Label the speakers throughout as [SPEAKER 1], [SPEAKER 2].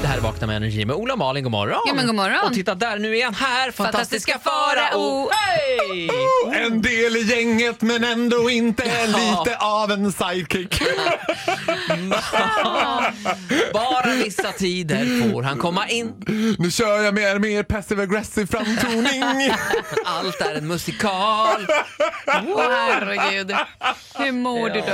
[SPEAKER 1] Det här är Vakna med Energy med Ola och Malin, god morgon.
[SPEAKER 2] Ja, men god morgon.
[SPEAKER 1] Och titta där, nu är han här, fantastiska,
[SPEAKER 2] Fantastiska
[SPEAKER 1] fara
[SPEAKER 3] oh.
[SPEAKER 2] farao.
[SPEAKER 1] Hey!
[SPEAKER 4] En del i gänget men ändå inte lite av en sidekick.
[SPEAKER 1] Bara vissa tider får han komma in.
[SPEAKER 4] Nu kör jag mer mer passive aggressive framtoning.
[SPEAKER 1] Allt är en musikal.
[SPEAKER 2] Åh herregud. Hur mår du då?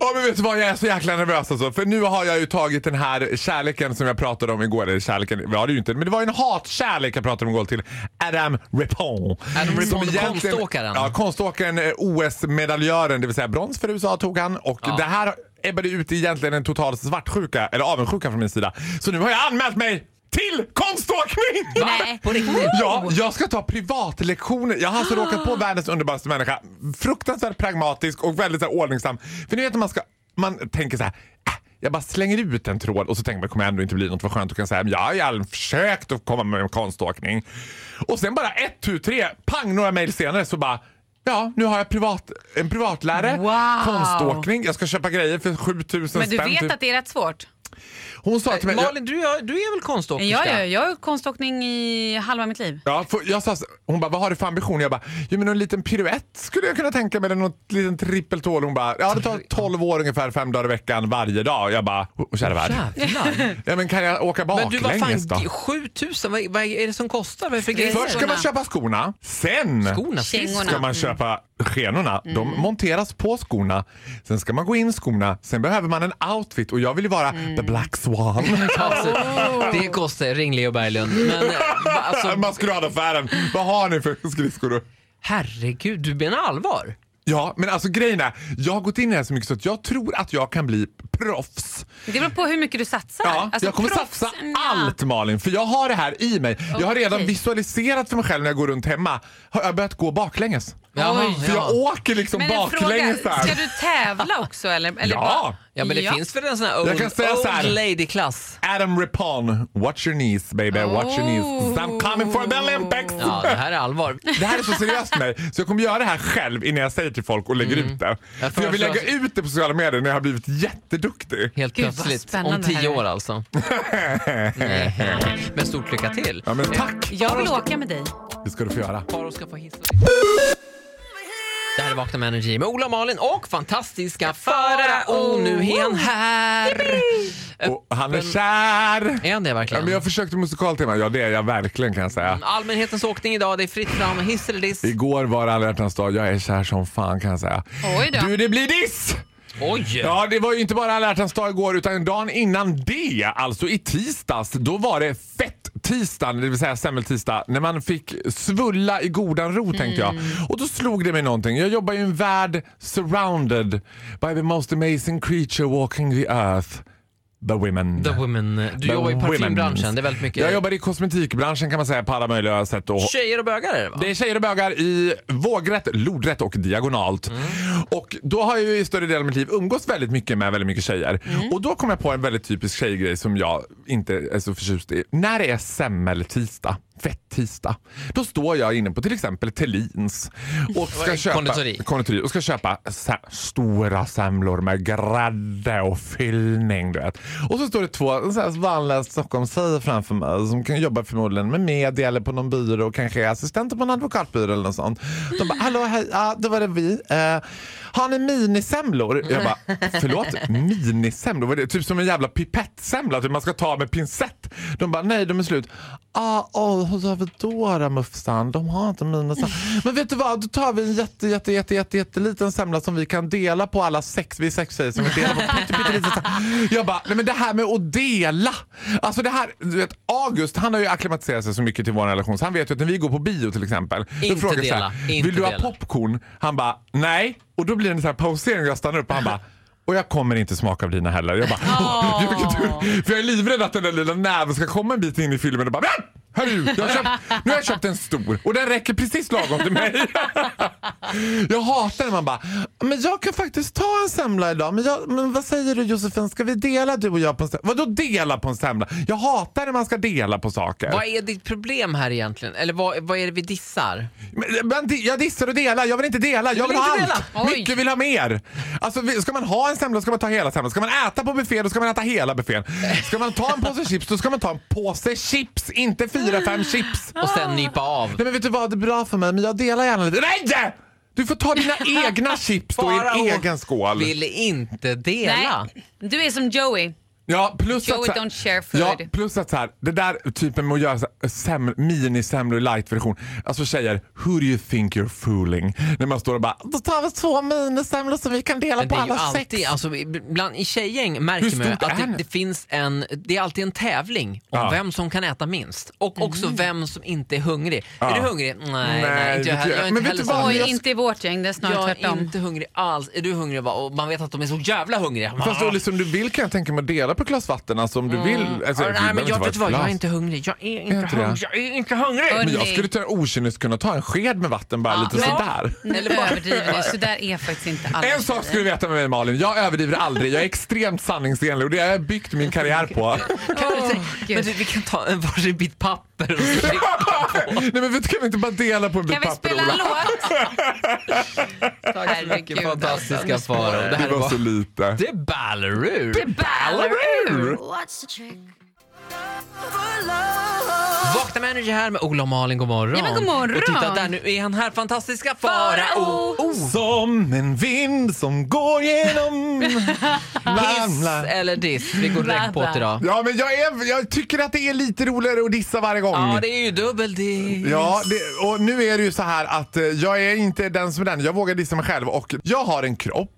[SPEAKER 4] Ja, men vet du vad, jag är så jäkla nervös alltså. För nu har jag ju tagit den här kärleken som jag pratade om igår. Eller kärleken, ja det är ju inte, men det var ju en hatkärlek jag pratade om igår till Adam Rippon.
[SPEAKER 1] Adam Rippon,
[SPEAKER 4] Som egentligen-
[SPEAKER 1] konståkaren.
[SPEAKER 4] Ja, konståkaren, eh, OS-medaljören, det vill säga brons för USA tog han. Och
[SPEAKER 1] Ja.
[SPEAKER 4] det här ebbade ut i egentligen en total svartsjuka, eller avundsjuka från min sida. Så nu har jag anmält mig till konståkning!
[SPEAKER 2] Nej.
[SPEAKER 1] På riktigt.
[SPEAKER 4] Ja, jag ska ta privatlektioner. Jag har alltså
[SPEAKER 2] Ah.
[SPEAKER 4] råkat på världens underbaraste människa. Fruktansvärt pragmatisk och väldigt så här, ordningsam. För ni vet när man ska, man tänker så här. "Äh, Jag bara slänger ut en tråd och så tänker man kommer ändå inte bli något. Vad skönt att kunna säga men jag har ju all- försökt att komma med en konståkning. Och sen bara ett, tu, tre, pang några mejl senare så bara Ja, nu har jag privat, en privatlärare,
[SPEAKER 2] Wow.
[SPEAKER 4] konståkning, jag ska köpa grejer för 7000 spänn.
[SPEAKER 2] Men du
[SPEAKER 4] typ.
[SPEAKER 2] vet att det är rätt svårt?
[SPEAKER 4] Hon sa till mig,
[SPEAKER 1] Malin, du är, du är väl
[SPEAKER 2] Ja,
[SPEAKER 1] konståkerska?
[SPEAKER 2] ja, ja, jag har konståkning i halva mitt liv.
[SPEAKER 4] Ja, för jag sa, så- hon bara, vad har du för ambition? Jag bara, jo men en liten piruett skulle jag kunna tänka mig, eller någon liten trippeltål. Hon bara, ja det tar 12 år ungefär, fem dagar i veckan, varje dag. Jag bara, "Åh, kära värld.
[SPEAKER 1] Jävlar.
[SPEAKER 4] Ja, men kan jag åka
[SPEAKER 1] Men du, vad
[SPEAKER 4] baklänges
[SPEAKER 1] fan,
[SPEAKER 4] då?
[SPEAKER 1] 7000, vad, vad är det som kostar? Vad är det för grejer?
[SPEAKER 4] Först ska man
[SPEAKER 2] Skorna.
[SPEAKER 4] köpa skorna, sen
[SPEAKER 1] Skorna, Mm.
[SPEAKER 2] Kängorna.
[SPEAKER 4] ska man köpa skenorna. De monteras på skorna, sen ska man gå in i skorna, sen behöver man en outfit och jag vill ju vara
[SPEAKER 1] Mm.
[SPEAKER 4] the black swan.
[SPEAKER 1] Alltså,
[SPEAKER 4] Oh.
[SPEAKER 1] det kostar, ring Leo Berglund. Men eh, va- alltså,
[SPEAKER 4] Maskeradaffären, vad har ni för skridskor?
[SPEAKER 1] herregud, du menar allvar?
[SPEAKER 4] Ja, men alltså grejen är, jag har gått in i det här så mycket så att jag tror att jag kan bli proffs.
[SPEAKER 2] Det beror på hur mycket du satsar.
[SPEAKER 4] Ja,
[SPEAKER 2] Alltså,
[SPEAKER 4] jag kommer
[SPEAKER 2] proffs-
[SPEAKER 4] satsa
[SPEAKER 2] Nja.
[SPEAKER 4] allt Malin, för jag har det här i mig. Jag har redan
[SPEAKER 2] Okej.
[SPEAKER 4] visualiserat för mig själv när jag går runt hemma. Har jag börjat gå baklänges?
[SPEAKER 1] Jaha,
[SPEAKER 4] För jag åker liksom
[SPEAKER 2] Men en fråga,
[SPEAKER 4] baklänges
[SPEAKER 2] ska
[SPEAKER 4] här.
[SPEAKER 2] du tävla också eller? eller
[SPEAKER 4] Ja.
[SPEAKER 1] Ja, men det
[SPEAKER 2] Ja.
[SPEAKER 1] finns väl en sån här
[SPEAKER 4] Jag kan
[SPEAKER 1] old,
[SPEAKER 4] säga så här.
[SPEAKER 1] old lady-klass?
[SPEAKER 4] Adam Rippon, watch your knees baby, watch your knees. 'Cause I'm coming for the Olympics!
[SPEAKER 1] Oh. Ja, det här är allvar.
[SPEAKER 4] Det här är så seriöst med mig, så jag kommer göra det här själv innan jag säger till folk och lägger ut det.
[SPEAKER 1] Jag
[SPEAKER 4] För jag vill lägga
[SPEAKER 1] föreslår-
[SPEAKER 4] ut det på sociala medier när jag har blivit jätteduktig.
[SPEAKER 1] Helt
[SPEAKER 2] Gud, vad
[SPEAKER 1] plötsligt. Om
[SPEAKER 2] spännande det
[SPEAKER 1] tio
[SPEAKER 2] här är.
[SPEAKER 1] år alltså. Nej. Men stort lycka till.
[SPEAKER 4] Ja, men tack!
[SPEAKER 2] Jag vill åka med dig.
[SPEAKER 4] Det ska du få göra.
[SPEAKER 1] Faro ska få hissa. Det här är Vakna med Energy med Ola och Malin och fantastiska Farao. Nu är han här.
[SPEAKER 4] Och han är kär!
[SPEAKER 1] Är han det
[SPEAKER 4] Ja,
[SPEAKER 1] verkligen?
[SPEAKER 4] men jag försökte musikaltema. Ja, det är jag verkligen kan jag säga.
[SPEAKER 2] Mm,
[SPEAKER 1] Allmänhetens åkning idag. Det är fritt fram. Hiss eller diss?
[SPEAKER 4] Igår var det alla hjärtans dag. Jag är kär som fan kan jag säga.
[SPEAKER 2] Oj då.
[SPEAKER 4] Du, det blir diss!
[SPEAKER 1] Oj!
[SPEAKER 4] Ja, det var ju inte bara alla hjärtans dag igår utan dagen innan det, alltså i tisdags, då var det fett tisdagen, det vill säga semmeltisdag, när man fick svulla i godan ro tänkte
[SPEAKER 2] Mm.
[SPEAKER 4] jag. Och då slog det mig någonting. Jag jobbar ju i en värld surrounded by the most amazing creature walking the earth, the women.
[SPEAKER 1] The women. Du
[SPEAKER 4] The
[SPEAKER 1] jobbar i
[SPEAKER 4] women's.
[SPEAKER 1] parfymbranschen. Det är väldigt mycket
[SPEAKER 4] Jag jobbar i kosmetikbranschen kan man säga på alla möjliga sätt. Och
[SPEAKER 1] tjejer och bögar är det va?
[SPEAKER 4] det är tjejer och bögar i vågrätt, lodrätt och diagonalt.
[SPEAKER 1] Mm.
[SPEAKER 4] Och då har jag ju i större delen av mitt liv umgås väldigt mycket med väldigt mycket tjejer.
[SPEAKER 1] Mm.
[SPEAKER 4] Och då kom jag på en väldigt typisk tjejgrej som jag inte är så förtjust i. När det är semmeltisdag, fett-tisdag, då står jag inne på till exempel Tellins och ska köpa,
[SPEAKER 1] Konditori.
[SPEAKER 4] konditori och ska köpa så här stora semlor med grädde och fyllning. Du vet. Och så står det två så här vanliga Stockholmstjejer framför mig som kan jobba förmodligen med media eller på någon byrå och kanske är assistenter på en advokatbyrå eller något sånt. De bara, hallå, hej, ja, då var det vi. Eh, har ni minisemlor? Jag bara, förlåt, minisemlor? Vad är det? Typ som en jävla pipettsemla, typ man ska ta med pincett. De bara, nej, de är slut. Ah, åh, hur gör vi då då Mufsan? De har inte minisemlor. Men vet du vad, då tar vi en jätte, jätte, jätte, jätte, jätteliten semla som vi kan dela på alla sex, vi är sex tjejer som vi delar på pytte, pytteliten semla. Jag bara, nej men det här med att dela. Alltså det här, du vet August han har ju acklimatiserat sig så mycket till vår relation så han vet ju att när vi går på bio till exempel. då
[SPEAKER 1] Inte
[SPEAKER 4] frågar jag så här,
[SPEAKER 1] dela, inte
[SPEAKER 4] Vill du ha
[SPEAKER 1] dela."
[SPEAKER 4] popcorn? Han bara, nej. Och då blir det en sån här pausering och jag stannar upp och han bara, och jag kommer inte smaka av dina heller. Jag bara, åh, gud vilken tur. För jag är livrädd att den där lilla näven ska komma en bit in i filmen och bara, "Men, Hörru, jag har köpt, nu har jag köpt en stor och den räcker precis lagom till mig. Jag hatar när man bara, men jag kan faktiskt ta en semla idag. Men, jag, men vad säger du Josefin, ska vi dela du och jag på en semla? Vadå dela på en semla? Jag hatar när man ska dela på saker.
[SPEAKER 1] Vad är ditt problem här egentligen? Eller vad, vad är det vi dissar?
[SPEAKER 4] Men, men di- jag dissar och delar, jag vill inte dela, jag
[SPEAKER 1] vill
[SPEAKER 4] vill, ha
[SPEAKER 1] inte
[SPEAKER 4] allt.
[SPEAKER 2] dela? Oj.
[SPEAKER 4] Mycket vill ha mer. Alltså, vi- ska man ha en semla ska man ta hela semlan. Ska man äta på buffén då ska man äta hela buffén. Ska man ta en påse chips då ska man ta en påse chips, inte fyra, fem chips.
[SPEAKER 1] Och sen nypa av.
[SPEAKER 4] Nej men vet du vad, det är bra för mig men jag delar gärna lite. Nej! Du får ta dina egna chips då i
[SPEAKER 1] Farao
[SPEAKER 4] en egen skål.
[SPEAKER 1] Vill inte dela.
[SPEAKER 2] Nej, du är som Joey.
[SPEAKER 4] Ja, plus
[SPEAKER 2] Joey
[SPEAKER 4] att, så här-
[SPEAKER 2] don't share food.
[SPEAKER 4] Ja, plus att så här, det där typen med att göra så här sem, minisemlor i light-version. Alltså tjejer, who do you think you're fooling? När man står och bara, då tar vi två minisemlor som vi kan dela
[SPEAKER 1] Men det
[SPEAKER 4] på
[SPEAKER 1] är ju
[SPEAKER 4] alla
[SPEAKER 1] alltid,
[SPEAKER 4] sex.
[SPEAKER 1] alltså, bland, i tjejgäng
[SPEAKER 4] Hur
[SPEAKER 1] märker man ju
[SPEAKER 4] stort
[SPEAKER 1] att
[SPEAKER 4] är
[SPEAKER 1] det,
[SPEAKER 4] den?
[SPEAKER 1] det finns en, det är alltid en tävling om
[SPEAKER 4] Ja. Mm.
[SPEAKER 1] vem som kan äta minst. Och också vem som inte är hungrig.
[SPEAKER 4] Ja.
[SPEAKER 1] Är du hungrig? Nej, nej,
[SPEAKER 4] Nej,
[SPEAKER 1] inte jag
[SPEAKER 4] vet du-
[SPEAKER 1] heller. Jag är
[SPEAKER 4] men
[SPEAKER 1] inte
[SPEAKER 4] vet
[SPEAKER 1] heller
[SPEAKER 4] du
[SPEAKER 1] så
[SPEAKER 4] vad?
[SPEAKER 2] Oj,
[SPEAKER 1] hungrig.
[SPEAKER 2] inte i vårt gäng. Det är snarare
[SPEAKER 1] Jag är
[SPEAKER 2] tvärtom.
[SPEAKER 1] inte hungrig alls. Är du hungrig? va? Och man vet att de är så jävla hungriga.
[SPEAKER 4] Fast Olle, som du vill kan jag tänka mig att dela på ett glas vatten. Alltså, om du
[SPEAKER 2] Mm.
[SPEAKER 4] vill. Alltså,
[SPEAKER 1] Ah,
[SPEAKER 4] det
[SPEAKER 1] nej,
[SPEAKER 4] behöver
[SPEAKER 1] men
[SPEAKER 4] inte
[SPEAKER 1] jag,
[SPEAKER 4] vara
[SPEAKER 1] vet
[SPEAKER 4] ett
[SPEAKER 1] du vad, jag är
[SPEAKER 4] glas.
[SPEAKER 1] inte hungrig. Jag är inte,
[SPEAKER 4] Är inte det?
[SPEAKER 1] hungrig. Jag är inte hungrig.
[SPEAKER 2] Hörni.
[SPEAKER 4] Men jag skulle ta- okynnes kunna ta en sked med vatten bara lite
[SPEAKER 1] ja.
[SPEAKER 4] sådär.
[SPEAKER 2] Nu överdriver ni. Så där är faktiskt inte alla
[SPEAKER 4] En sak ska du veta med mig Malin, jag överdriver aldrig. Jag är extremt sanningsenlig och det har jag byggt min karriär på.
[SPEAKER 1] Kan du säga-
[SPEAKER 2] Gud.
[SPEAKER 1] men du, vi kan ta en varsin bit papper och så
[SPEAKER 4] Nej men vet du, kan vi inte bara dela på en
[SPEAKER 2] Kan
[SPEAKER 4] bit
[SPEAKER 2] vi
[SPEAKER 4] papper
[SPEAKER 2] spela en
[SPEAKER 4] Ola?
[SPEAKER 2] låt?
[SPEAKER 1] Tack så mycket
[SPEAKER 2] Herregud,
[SPEAKER 1] fantastiska faror. Det
[SPEAKER 4] alltså, Det
[SPEAKER 1] här
[SPEAKER 4] var så
[SPEAKER 1] var
[SPEAKER 4] lite.
[SPEAKER 1] Det är Ballerur. Det
[SPEAKER 5] What's the trick?
[SPEAKER 1] Vakna med Energy här med Ola och Malin. God morgon.
[SPEAKER 2] Ja, men god morgon.
[SPEAKER 1] Och titta där, nu är han här. Fantastiska Farao.
[SPEAKER 2] Farao.
[SPEAKER 1] Oh.
[SPEAKER 4] Som en vind som går genom...
[SPEAKER 1] Hiss
[SPEAKER 4] Hiss.
[SPEAKER 1] eller diss? Vi går direkt på
[SPEAKER 2] Bla, bla.
[SPEAKER 1] det idag.
[SPEAKER 4] Ja men jag, är, jag tycker att det är lite roligare att dissa varje gång.
[SPEAKER 1] Ja, det är ju dubbel-diss.
[SPEAKER 4] Ja, det, och nu är det ju så här att eh, jag är inte den som är den. Jag vågar dissa mig själv och jag har en kropp.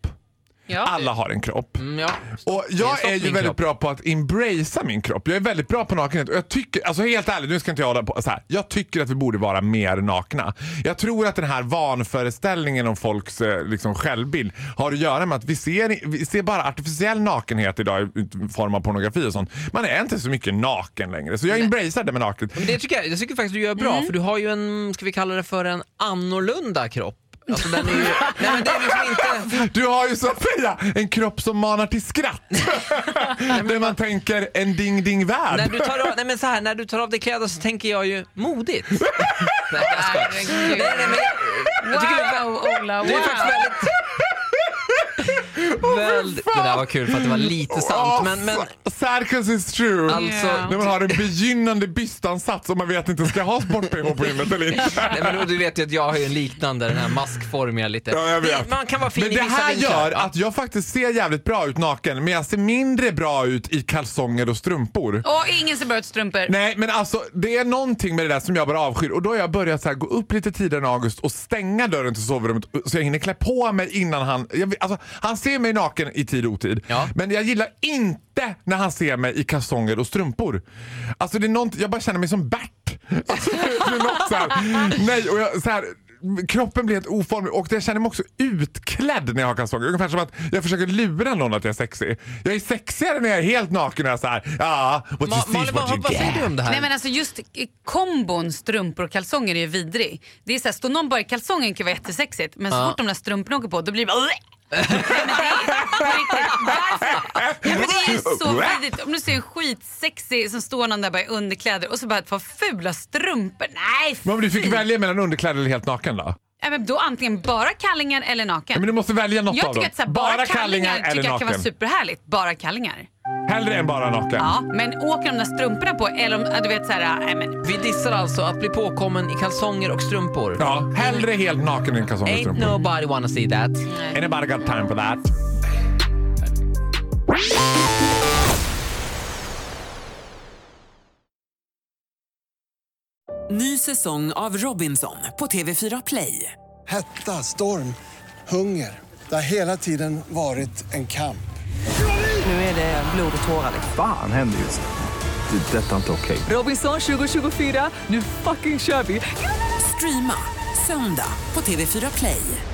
[SPEAKER 2] Ja.
[SPEAKER 4] Alla har en kropp.
[SPEAKER 1] Mm, ja.
[SPEAKER 4] Och jag
[SPEAKER 1] stopp
[SPEAKER 4] är ju
[SPEAKER 1] min
[SPEAKER 4] väldigt
[SPEAKER 1] kropp.
[SPEAKER 4] bra på att embracea min kropp. Jag är väldigt bra på nakenhet. Och jag tycker, alltså helt ärligt, nu ska inte jag hålla på så här. Jag tycker att vi borde vara mer nakna. Jag tror att den här vanföreställningen om folks eh, liksom, självbild har att göra med att vi ser, vi ser bara artificiell nakenhet idag i i form av pornografi och sånt. Man är inte så mycket naken längre. Så jag embracear det med naket.
[SPEAKER 1] Men det tycker jag, jag tycker faktiskt du gör bra,
[SPEAKER 2] Mm.
[SPEAKER 1] för du har ju en, ska vi kalla det för en annorlunda kropp. Alltså den är ju, nej men det är liksom inte...
[SPEAKER 4] Du har ju så att säga en kropp som manar till skratt. Där man tänker en ding ding
[SPEAKER 1] När
[SPEAKER 4] värld.
[SPEAKER 1] du, tar av, nej men så här, när du tar av dig kläder så tänker jag ju modigt. Nej, jag skojar.
[SPEAKER 2] Herregud.
[SPEAKER 1] Nej, nej, men jag, jag tycker det är
[SPEAKER 2] Wow, Ola. Wow.
[SPEAKER 1] Det är faktiskt väldigt... väldigt det där var kul för att det var lite sant.
[SPEAKER 4] Oh,
[SPEAKER 1] Men, men
[SPEAKER 4] sa- Circus is true.
[SPEAKER 1] alltså...
[SPEAKER 2] Yeah.
[SPEAKER 4] När man har en begynnande bystansats och man vet inte ska jag ha sport-bh på gymmet eller inte.
[SPEAKER 1] Nej, men du vet ju att jag har ju en liknande, den här maskformiga lite.
[SPEAKER 4] Ja, jag vet.
[SPEAKER 1] Det- Man kan vara fin
[SPEAKER 4] Men
[SPEAKER 1] i
[SPEAKER 4] det
[SPEAKER 1] vissa
[SPEAKER 4] här
[SPEAKER 1] vinklar.
[SPEAKER 4] gör att jag faktiskt ser jävligt bra ut naken men jag ser mindre bra ut i kalsonger och strumpor.
[SPEAKER 2] Och ingen ser bra ut i strumpor.
[SPEAKER 4] Nej men alltså det är någonting med det där som jag bara avskyr och då har jag börjat så här, gå upp lite tidigare än August och stänga dörren till sovrummet så jag hinner klä på mig innan han... Jag, vet- alltså, han ser mig naken i tid och otid
[SPEAKER 1] Ja.
[SPEAKER 4] men jag gillar inte när han ser mig i kalsonger och strumpor. Alltså det är nånt, jag bara känner mig som Bert. Alltså, det är något så här. Nej och jag, så här, Kroppen blir helt oformlig och jag känner mig också utklädd när jag har kalsonger. Ungefär som att jag försöker lura någon att jag är sexig. Jag är sexigare när jag är helt naken och jag är såhär ja, what
[SPEAKER 1] Ma-
[SPEAKER 4] you see is
[SPEAKER 1] Malin,
[SPEAKER 4] what you
[SPEAKER 1] vad, vad
[SPEAKER 4] get.
[SPEAKER 1] säger du om det här?
[SPEAKER 2] Nej men alltså just i- kombon strumpor och kalsonger är ju vidrig. Det är såhär, står någon bara i kalsongen kan vara jättesexigt men så fort de där strumporna åker på då blir det bara... Nej, men det är- på riktigt, varför? Ja, men det är ju så vidrigt. Om du ser en skitsexig som står någon där bara i underkläder och så bara ett par fula strumpor. Nej,
[SPEAKER 4] Men om du fick
[SPEAKER 2] fy.
[SPEAKER 4] välja mellan underkläder eller helt naken då?
[SPEAKER 2] Ja, men då antingen bara kallingar eller naken.
[SPEAKER 4] Ja, Men du måste välja något
[SPEAKER 2] jag
[SPEAKER 4] av dem.
[SPEAKER 2] tycker att så här, bara, kallingar,
[SPEAKER 4] eller
[SPEAKER 2] tycker jag kan vara
[SPEAKER 4] naken.
[SPEAKER 2] superhärligt. Bara kallingar.
[SPEAKER 4] Hellre än bara naken.
[SPEAKER 2] Ja, men åker de där strumporna på eller om, ja, du vet såhär, nej men
[SPEAKER 1] Vi dissar alltså att bli påkommen i kalsonger och strumpor.
[SPEAKER 4] Ja, hellre helt naken än kalsonger och
[SPEAKER 1] Ain't
[SPEAKER 4] strumpor.
[SPEAKER 1] nobody wanna see that.
[SPEAKER 4] Anybody got time for that?
[SPEAKER 3] Ny säsong av Robinson på TV4 Play.
[SPEAKER 6] Hetta, storm, hunger. Det har hela tiden varit en kamp.
[SPEAKER 3] Nu är det blod och tårar.
[SPEAKER 7] Fan händer just det. Det är detta inte okej.
[SPEAKER 3] Robinson 2024, nu fucking kör vi! Streama söndag på TV4 Play.